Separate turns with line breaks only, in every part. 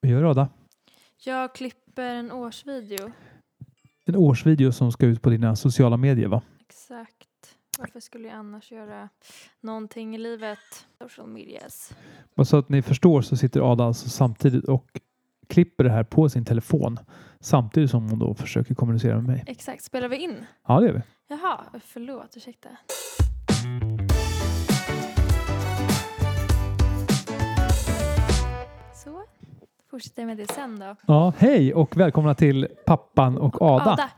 Vad gör Ada?
Jag klipper en årsvideo.
En årsvideo som ska ut på dina sociala medier va?
Exakt. Varför skulle jag annars göra någonting i livet? Social medias.
Och så att ni förstår så sitter Ada alltså samtidigt och klipper det här på sin telefon samtidigt som hon då försöker kommunicera med mig.
Exakt. Spelar vi in?
Ja, det gör vi.
Jaha, förlåt. Ursäkta. Så. Fortsätter jag med det sen då.
Ja, hej och välkomna till pappan och Ada.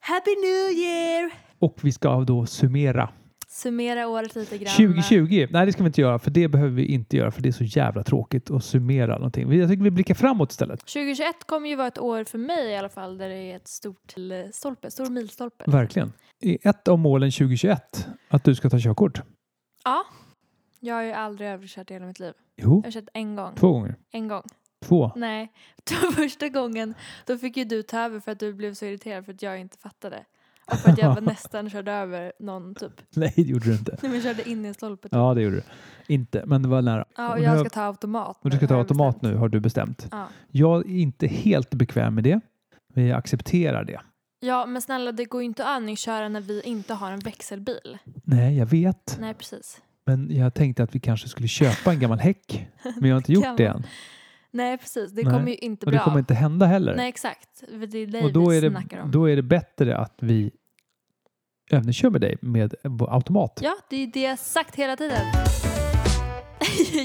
Happy New Year!
Och vi ska då summera.
Summera året lite grann.
2020, nej det ska vi inte göra för det behöver vi inte göra för det är så jävla tråkigt att summera någonting. Jag tycker vi blickar framåt istället.
2021 kommer ju vara ett år för mig i alla fall där det är ett stort eh, stolpe, stor milstolpe.
Verkligen. Är ett av målen 2021 att du ska ta körkort?
Ja. Jag har ju aldrig överkört i hela mitt liv.
Jo,
Jag har kört en gång.
två gånger.
En gång.
Två.
Nej, Då första gången då fick ju du ta över för att du blev så irriterad för att jag inte fattade. Och för att jag var nästan körde över någon typ.
Nej, det gjorde du inte.
Nej, men jag körde in i en stolpe. Typ.
Ja, det gjorde du. Inte, men det var nära.
Ja, och
nu
jag
har-
ska ta automat.
Och du
nu,
ska ta
har jag
automat
bestämt.
nu har du bestämt.
Ja.
Jag är inte helt bekväm med det, men jag accepterar det.
ja, men snälla det går ju inte att övningsköra när vi inte har en växelbil.
Nej, jag vet,
Nej, precis.
men jag tänkte att vi kanske skulle köpa en gammal häck, men jag har inte
kan
gjort det än.
Nej, precis. Det
Nej.
kommer ju inte
Och
bli
det kommer
av.
inte hända heller.
Nej, exakt. För Det är dig
och då
vi
är, det,
snackar om.
då är det bättre att vi övningskör med dig med automat.
Ja, det är ju det jag sagt hela tiden.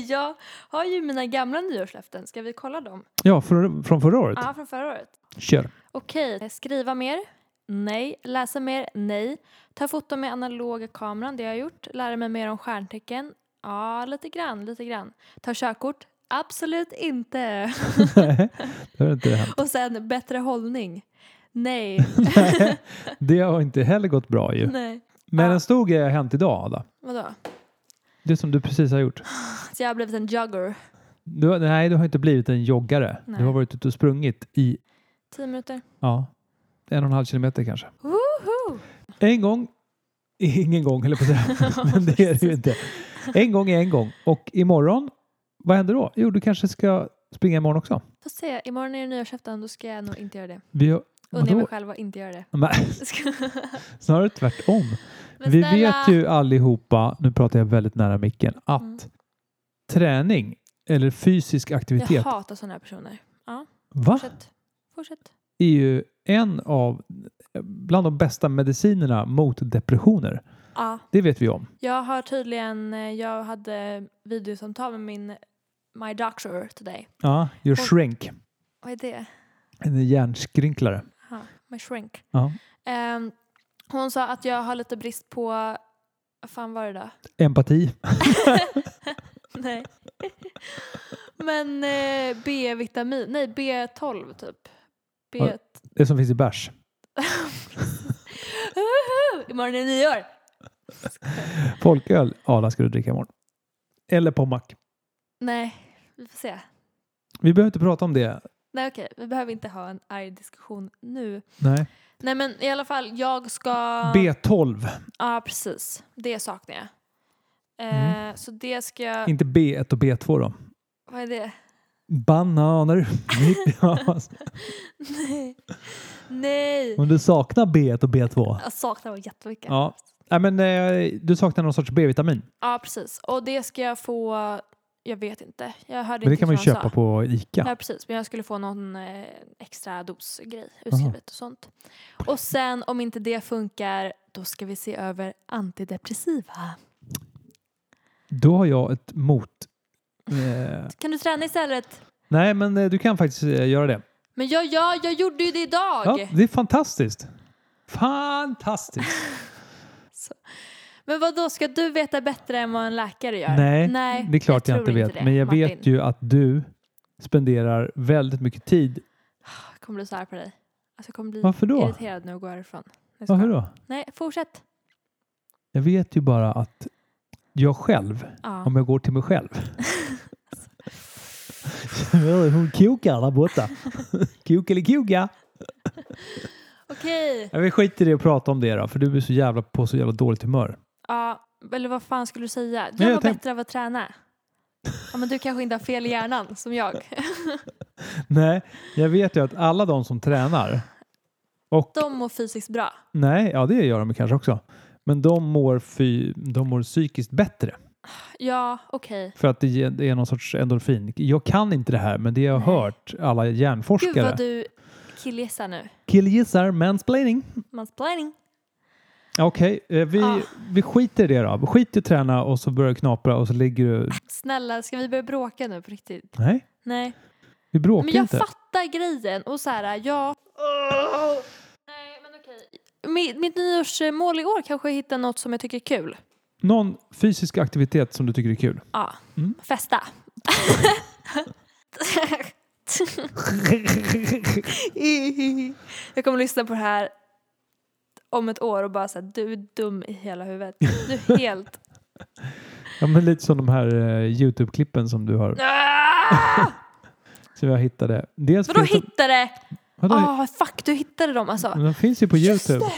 jag har ju mina gamla nyårslöften. Ska vi kolla dem?
Ja, för, från förra året.
Ja, från förra året.
Kör.
Okej, skriva mer? Nej. Läsa mer? Nej. Ta foton med analoga kameran, det har jag gjort. Lära mig mer om stjärntecken? Ja, lite grann, lite grann. Ta körkort? Absolut inte.
det har inte hänt.
Och sen bättre hållning? Nej.
Det har inte heller gått bra ju.
Nej.
Men
Ja.
en stor grej har hänt idag, Ada.
Vadå?
Det som du precis har gjort.
Så jag har blivit en jogger.
Du, har- nej, du har inte blivit en joggare.
Nej.
Du har varit ute och sprungit i
Tio minuter.
ja, en och en halv kilometer kanske.
Woho!
En gång, ingen gång höll jag på att säga, men det är det ju inte. En gång är en gång. Och imorgon, vad händer då? Jo, du kanske ska springa imorgon också.
Fast se, imorgon är det nyårsafton, då ska jag nog inte göra det.
Vi har,
Unnar mig
vadå?
själv att inte göra det.
Men, snarare tvärtom.
Men
Vi
snälla,
vet ju allihopa, nu pratar jag väldigt nära micken, att
Mm.
träning eller fysisk aktivitet
Jag hatar sådana här personer.
va?
Fortsätt. Fortsätt.
är ju en av bland de bästa medicinerna mot depressioner.
Ja.
Det vet vi om.
Jag har tydligen, eh, jag hade videosamtal med min My Doctor today.
Ja, your
Och-
shrink.
Vad är det?
En hjärnskrynklare.
Aha, my shrink.
Ja.
Ehm, hon sa att jag har lite brist på, vad fan var det då?
Empati.
Nej. Men eh, B-vitamin, nej B12 typ. B...
Ja. Det som finns i bärs.
Uhu! Imorgon är det nyår!
Folköl, Ada, ska du dricka imorgon. Eller Pommac.
Nej, vi får se.
Vi behöver inte prata om det.
Nej okej, vi behöver inte ha en arg diskussion nu.
Nej.
Nej men i alla fall, jag ska...
B12,
Ja, precis. Det saknar jag. Eh,
Mm.
Så det ska jag...
inte B1 och B2 då.
Vad är det?
Bananer. Ja,
Nej. Nej.
Om du saknar B1 och B2.
Jag saknar dem jättemycket. Ja.
Ja. Nej, men, eh, du saknar någon sorts B-vitamin.
precis. Och det ska jag få... Jag vet inte. Jag hörde
Men det
inte
kan man
vad
ju
han
köpa
sa.
på
Ja,
ICA.
precis. Men jag skulle få någon eh, extra dosgrej utskrivet och sånt. Och sen om inte det funkar, då ska vi se över antidepressiva.
Då har jag ett mot... Eh,
Kan du träna istället?
Nej, men eh, du kan faktiskt eh, göra det.
Men jag, jag, jag gjorde ju det idag!
Ja, det är fantastiskt. Fantastiskt.
Men vad då ska du veta bättre än vad en läkare gör?
Nej,
Nej
det är klart jag,
tror
inte vet.
det,
men jag
Martin.
vet ju att du spenderar väldigt mycket tid.
Jag kommer bli så arg på dig. Alltså, jag kommer bli
Varför då?
irriterad nu och gå härifrån. Jag ska-
Varför då?
Nej, fortsätt.
Jag vet ju bara att jag själv,
Ja.
om jag går till mig själv. Hon kokar där borta. Kokelikoka.
Okej.
Jag vill skita i det och prata om det då, för du är så jävla på så jävla dåligt humör.
Ja, eller vad fan skulle du säga?
Nej,
Jag
jag
var
tänk-
bättre av att träna. Ja, men du kanske inte har fel i hjärnan som jag.
Nej, jag vet ju att alla de som tränar och
De mår fysiskt bra.
nej, ja det gör de kanske också. Men de mår, fy, de mår psykiskt bättre
Ja, okej.
för att det ger- det är någon sorts endorfin. Jag kan inte det här, men det har jag
Nej.
hört alla
Gud
hjärnforskare.
vad du killgissar nu.
Killgissar mansplaining.
Mansplaining.
Okej, eh, vi,
Ah.
vi skiter i det då. Skit i att träna och så börjar du knapra och så ligger du...
Snälla, ska vi börja bråka nu på riktigt?
Nej,
Nej.
vi bråkar
Men jag
inte.
fattar grejen och så här, ja. Nej, men okej. Mitt, mitt nyårsmål i år kanske är att hitta något som jag tycker är kul.
Någon fysisk aktivitet som du tycker är kul?
Ja,
Mm.
festa. jag kommer lyssna på det här om ett år och bara säga du är dum i hela huvudet. Du är helt...
Ja, men lite som de här eh, Youtube-klippen som du har.
Ah!
Så jag hittade. Dels
Vadå
finns de-
hittade?
Vadå,
Ah, fuck, du hittade dem alltså.
Men De finns ju på
Just
Youtube.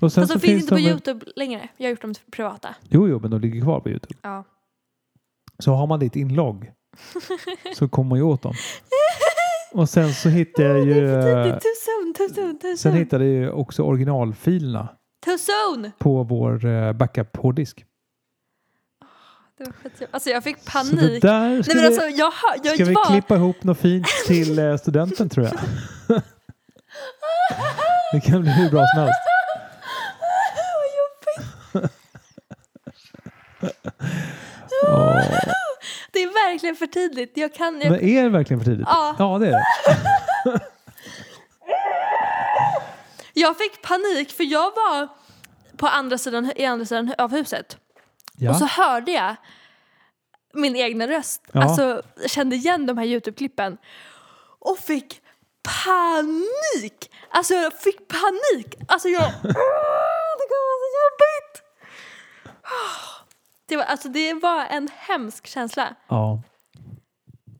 Och sen
Fast de finns inte på
de-
Youtube längre. Jag har gjort dem till privata.
Jo, jo, men de ligger kvar på Youtube.
Ja.
Så har man ditt inlogg så kommer man ju åt dem. Och sen så hittade jag
Det
ju...
är för
eh,
tidigt. Too soon, too soon, too
Sen
soon.
hittade jag ju också originalfilerna
Too soon!
på vår eh, backup-hårddisk.
Det var skitjobbigt. Alltså jag fick
Så det
panik.
där ska,
Nej men alltså jag, har-
vi,
jag
ska vi
var...
klippa ihop något fint till eh, studenten tror jag. Det kan bli hur bra som helst.
Vad jobbigt.
Åh.
Det är verkligen för tidigt. Jag kan... Jag...
Men är det verkligen för tidigt?
Ja.
ja det är det.
jag fick panik för jag var på andra sidan, i andra sidan av huset.
Ja.
Och så hörde jag min egna röst.
Ja.
Alltså kände igen de här Youtube-klippen. Och fick panik! Alltså jag fick panik! Alltså jag... Åh, det kommer vara så jobbigt! Ah. Det var, alltså det var en hemsk känsla.
ja.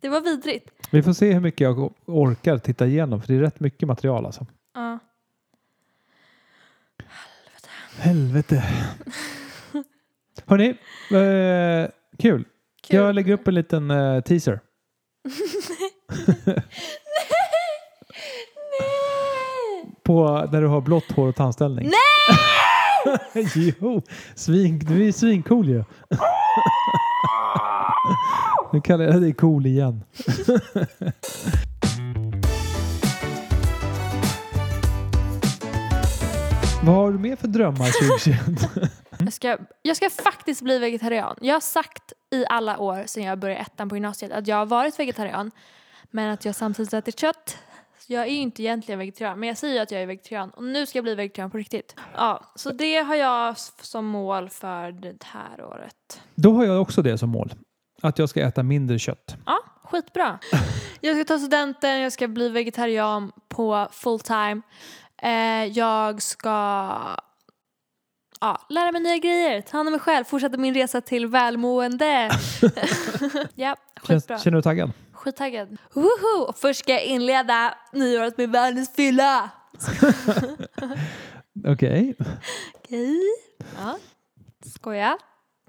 Det var vidrigt.
Vi får se hur mycket jag orkar titta igenom för det är rätt mycket material alltså.
Ja.
Helvete. Hörni, eh, kul.
Kul.
Jag lägger upp en liten eh, teaser.
Nej!
På när du har blått hår och tandställning. Nej! jo, svin, du är svincool ju. nu kallar jag dig cool igen. Vad har du mer för drömmar 2021?
Jag ska, jag ska faktiskt bli vegetarian. Jag har sagt i alla år sedan jag började ettan på gymnasiet att jag har varit vegetarian men att jag samtidigt äter kött. Så jag är ju inte egentligen vegetarian men jag säger ju att jag är vegetarian och nu ska jag bli vegetarian på riktigt. Ja, så det har jag s- som mål för det här året.
Då har jag också det som mål. Att jag ska äta mindre kött.
Ja, skitbra. Jag ska ta studenten, jag ska bli vegetarian på full time. Eh, jag ska ja, lära mig nya grejer, ta hand om mig själv, fortsätta min resa till välmående. ja,
Känns,
skitbra.
känner du taggad?
Skittaggad. Woho! Och först ska jag inleda nyåret med världens fylla.
Okej.
Okej. Ja. Skoja.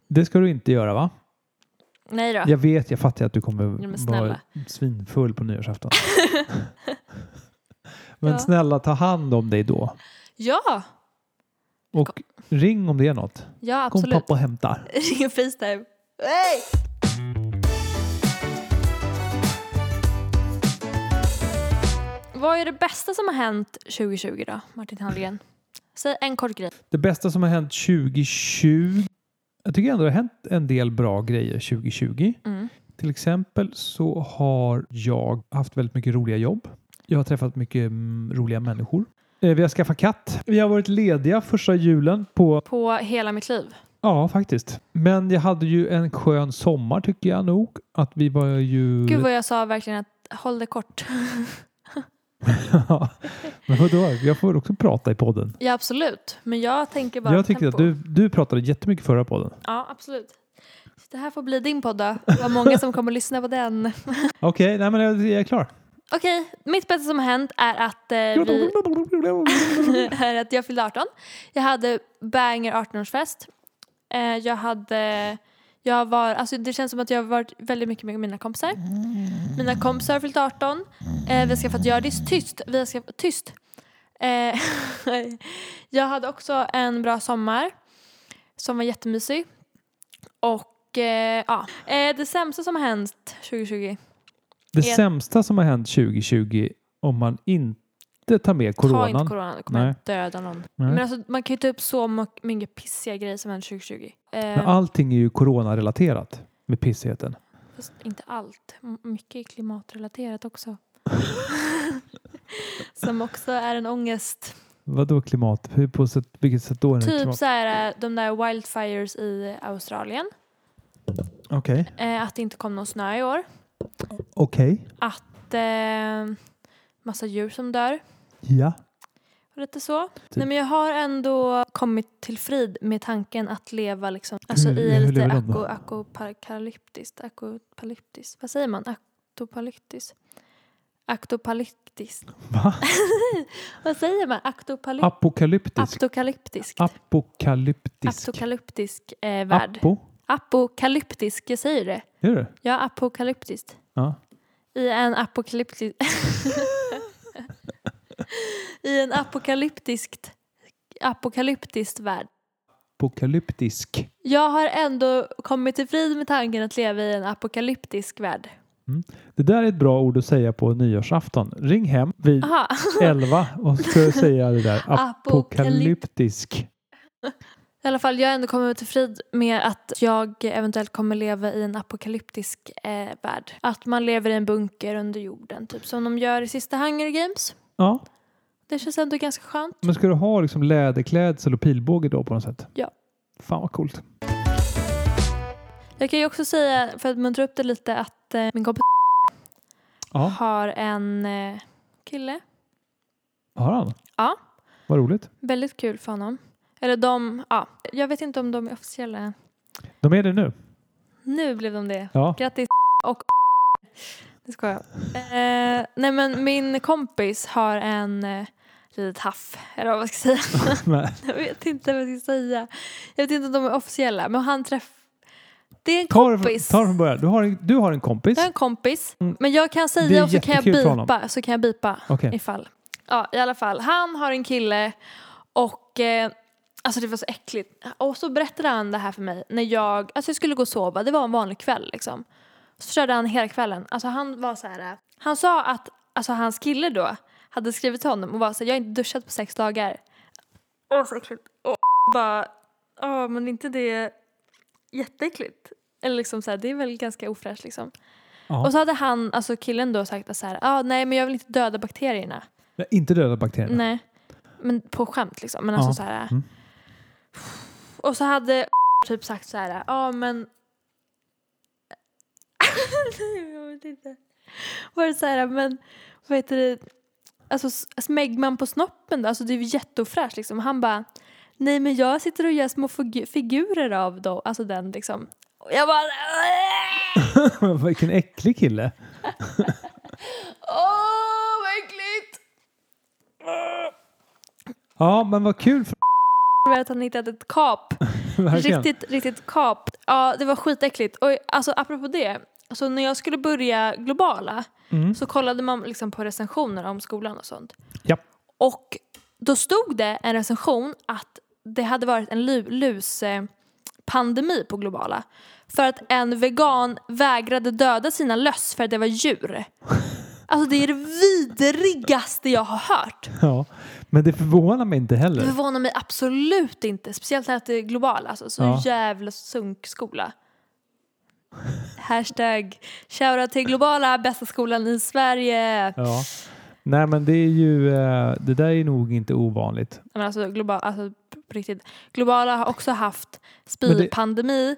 Det ska du inte göra va?
Nej då.
Jag vet, jag fattar att du kommer
men
vara
snälla.
svinfull på nyårsafton. men
Ja.
snälla, ta hand om dig då.
Ja,
Och ring om det är något.
ja
Kom
absolut.
pappa och hämtar.
Ring Facetime. Vad är det bästa som har hänt 2020 då, Martin Hallgren? Säg en kort grej.
Det bästa som har hänt 2020. Jag tycker ändå det har hänt en del bra grejer 2020.
Mm.
Till exempel så har jag haft väldigt mycket roliga jobb. Jag har träffat mycket mm, roliga människor. Eh, Vi har skaffat katt. Vi har varit lediga första julen på,
På hela mitt liv.
ja faktiskt. Men jag hade ju en skön sommar tycker jag nog. Att vi var ju...
Gud vad jag sa verkligen att håll det kort.
Ja. Men vadå? Jag får väl också prata i podden.
Ja absolut, men jag tänker bara
Jag tyckte att
tempo.
du, du pratade jättemycket förra podden.
Ja absolut. Så Det här får bli din podd då. Vad många som kommer lyssna på den.
Okej, nej men jag, jag är klar.
Okej, mitt bästa som har hänt är att, eh, vi, är att jag fyllde 18. Jag hade banger 18-årsfest. Eh, jag hade Jag var, alltså det känns som att jag har varit väldigt mycket med mina kompisar. Mina kompisar har fyllt 18. Eh, vi har skaffat Hjördis. Tyst! Vi har skaffat, tyst! Eh, jag hade också en bra sommar som var jättemysig. Och eh, ja, eh, det sämsta som har hänt 2020
Det
Är-
sämsta som har hänt 2020 om man inte tar med coronan.
Ta inte coronan, det kommer
Nej.
jag döda någon.
Nej.
Men alltså, man kan ju ta upp så mo- mycket pissiga grejer som hände 2020.
Men
Eh,
allting är ju coronarelaterat med pissigheten.
fast inte allt. M- mycket är klimatrelaterat också. som också är en ångest.
Vadå klimat? Hur på sätt, vilket sätt då? Är det
Typ
klimat?
så här, eh, de där wildfires i Australien.
Okej.
Eh, att det inte kom någon snö i år.
Okej.
Att eh, massa djur som dör.
Ja.
Och lite så.
Typ.
Nej, men jag har ändå kommit till frid med tanken att leva liksom, alltså,
Hur-
i
Mm, hur
lite
lever de då?
ako- akopalyptiskt. Akopalyptiskt. Vad säger man? Aktopalyptiskt. Aktopalyptiskt.
Va?
Vad säger man? Aktopalyp-
Apokalyptisk.
Aptokalyptisk.
Apokalyptisk.
Apokalyptisk eh, värld.
Apo?
Apokalyptisk, jag säger det.
Gör du?
Ja, apokalyptiskt.
Ja.
I en apokalyptisk... I en apokalyptiskt... Apokalyptiskt värld.
Apokalyptisk.
Jag har ändå kommit till frid med tanken att leva i en apokalyptisk värld.
Det där är ett bra ord att säga på nyårsafton. Ring hem vid
Aha.
11 och så ska jag säga det där. Apokalyptisk.
I alla fall, jag har ändå kommit till frid med att jag eventuellt kommer leva i en apokalyptisk eh, värld. Att man lever i en bunker under jorden, typ som de gör i sista Hunger Games.
Ja.
Det känns ändå ganska skönt.
Men ska du ha liksom läderklädsel och pilbåge då på något sätt?
Ja.
Fan vad coolt.
Jag kan ju också säga, för att muntra upp det lite, att eh, min kompis
Ja,
har en eh, kille.
har han?
Ja.
Vad roligt.
Väldigt kul för honom. Eller de, ja, jag vet inte om de är officiella.
De är det nu.
Nu blev de det.
Ja.
Grattis och Det ska jag. Eh, nej men min kompis har en eh, litet haff, eller vad jag ska säga.
Nej.
Jag vet inte vad jag ska säga. Jag vet inte om de är officiella, men han träff... Det är en
Ta det,
kompis.
från- ta det från början. Du har en, du har en kompis.
Jag har en kompis.
Mm.
Men jag kan
Det är
säga och så kan jag
jättekul för honom.
bipa, så kan jag bipa
Okej.
ifall. Ja, i alla fall. Han har en kille och eh, alltså det var så äckligt. Och så berättade han det här för mig när jag, alltså jag skulle gå och sova, det var en vanlig kväll liksom. Så körde han hela kvällen. Alltså han var så här, eh, han sa att alltså hans kille då hade skrivit till honom och var så här, jag har inte duschat på sex dagar. Åh så äckligt. Och bara, åh men inte det jätteäckligt. Eller liksom så här, det är väl ganska ofräscht liksom.
Ja.
Och så hade han, alltså killen då sagt att så här, ah, nej men jag vill inte döda bakterierna.
Nej, Inte döda bakterier.
Nej. Men på skämt liksom. Men
Ja.
alltså så här.
Mm.
Och så hade typ sagt så här, ja ah, men. Nej, jag vet inte. Var det så här, äh, men vad heter det? Alltså s- smägg man på snoppen då? Alltså det är ju jätteofräscht liksom. Han bara, nej men jag sitter och gör små figu- figurer av då, alltså den liksom. Och jag bara,
Vilken äcklig kille.
åh vad äckligt!
Ja, men vad kul. För,
över att han hittat ett kap.
verkligen.
Riktigt, riktigt kap. Ja, det var skitäckligt. Och alltså apropå det. Så när jag skulle börja globala
Mm.
så kollade man liksom på recensioner om skolan och sånt.
Ja.
Och då stod det en recension att det hade varit en lu- lus eh, pandemi på globala. För att en vegan vägrade döda sina löss för att det var djur. Alltså det är det vidrigaste jag har hört.
Ja. Men det förvånar mig inte
Det
heller.
förvånar mig absolut inte. Speciellt när det är global. Alltså, så
Ja.
jävla sunkskola. Hashtag shoutout till globala bästa skolan i Sverige.
Ja. Nej, men det är ju... eh, Det där är nog inte ovanligt.
Men alltså, global, alltså på riktigt. Globala har också haft
Men det-
spypandemi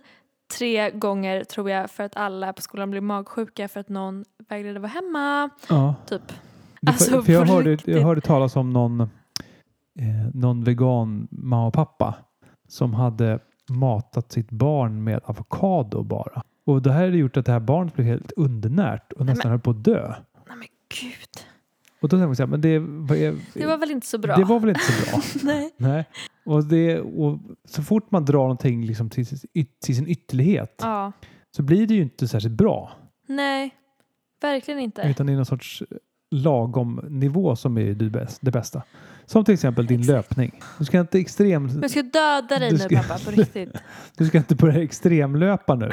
tre gånger tror jag för att alla på skolan blev magsjuka för att någon vägrade vara hemma.
Ja.
Typ.
Det-
Alltså,
för jag,
på
hörde,
riktigt.
jag hörde talas om någon, eh, någon vegan mamma och pappa som hade matat sitt barn med avokado bara. Och det här hade gjort att det här barnet blev helt undernärt och nästan höll på att dö.
Nej men gud.
Och då tänker man så här, men det, vad är,
Det var väl inte så bra?
det var väl inte så bra?
Nej.
Nej. Och, det, och så fort man drar någonting liksom till, sin yt- till sin ytterlighet
Ja.
så blir det ju inte särskilt bra.
Nej. Verkligen inte.
Utan det är någon sorts eh, lagom nivå som är det, bäst, det bästa. Som till exempel din
Exakt.
löpning. Du ska inte, extrem,
Men jag ska döda dig
Du
nu
ska-
pappa, på riktigt.
du ska inte börja extremlöpa nu.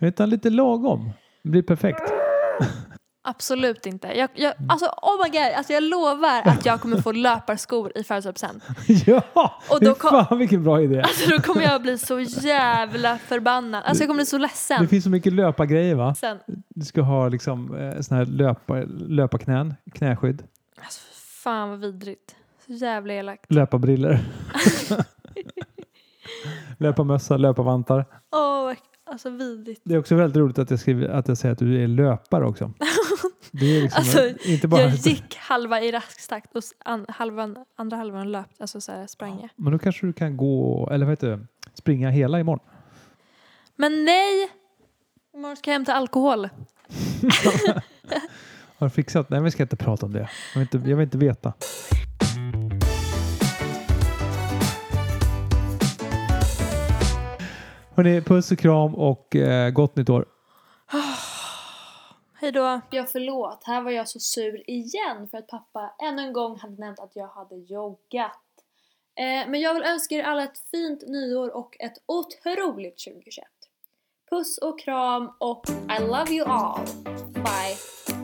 Utan lite lagom. Det blir perfekt.
Absolut inte. Jag, jag,
Mm.
alltså, oh my god, alltså, jag lovar att jag kommer få löparskor i födelsedagspresent.
ja!
Och
Fy
då kom-
fan vilken bra idé.
Alltså, då kommer jag bli så jävla förbannad. Alltså, jag kommer bli så
Det
ledsen.
finns så mycket löpargrejer va?
Sen,
Du ska ha liksom eh, såna här löpa, löparknän, knäskydd,
alltså, fan vad vidrigt. Så jävla elakt.
löparbriller. löparmössa, löparvantar.
Åh, vad- alltså vidrigt.
Det är också väldigt roligt att jag, skriver, att jag säger att du är löpare också. Det är liksom
Alltså,
inte bara...
Jag gick halva i rask takt och s- an, halvan, andra halvan löpte, alltså så här, sprang jag.
Men då kanske du kan gå, eller vad heter det, springa hela imorgon.
Men nej! Imorgon ska jag hämta alkohol.
Har du fixat? Nej, vi ska inte prata om det. Jag vill inte, jag vill inte veta. Hörrni, puss och kram och eh, gott nytt år.
Hej då. Ja, förlåt. Här var jag så sur igen för att pappa ännu en gång hade nämnt att jag hade joggat. Eh, men jag vill önska er alla ett fint nyår och ett otroligt 2021. Puss och kram och I love you all. Bye.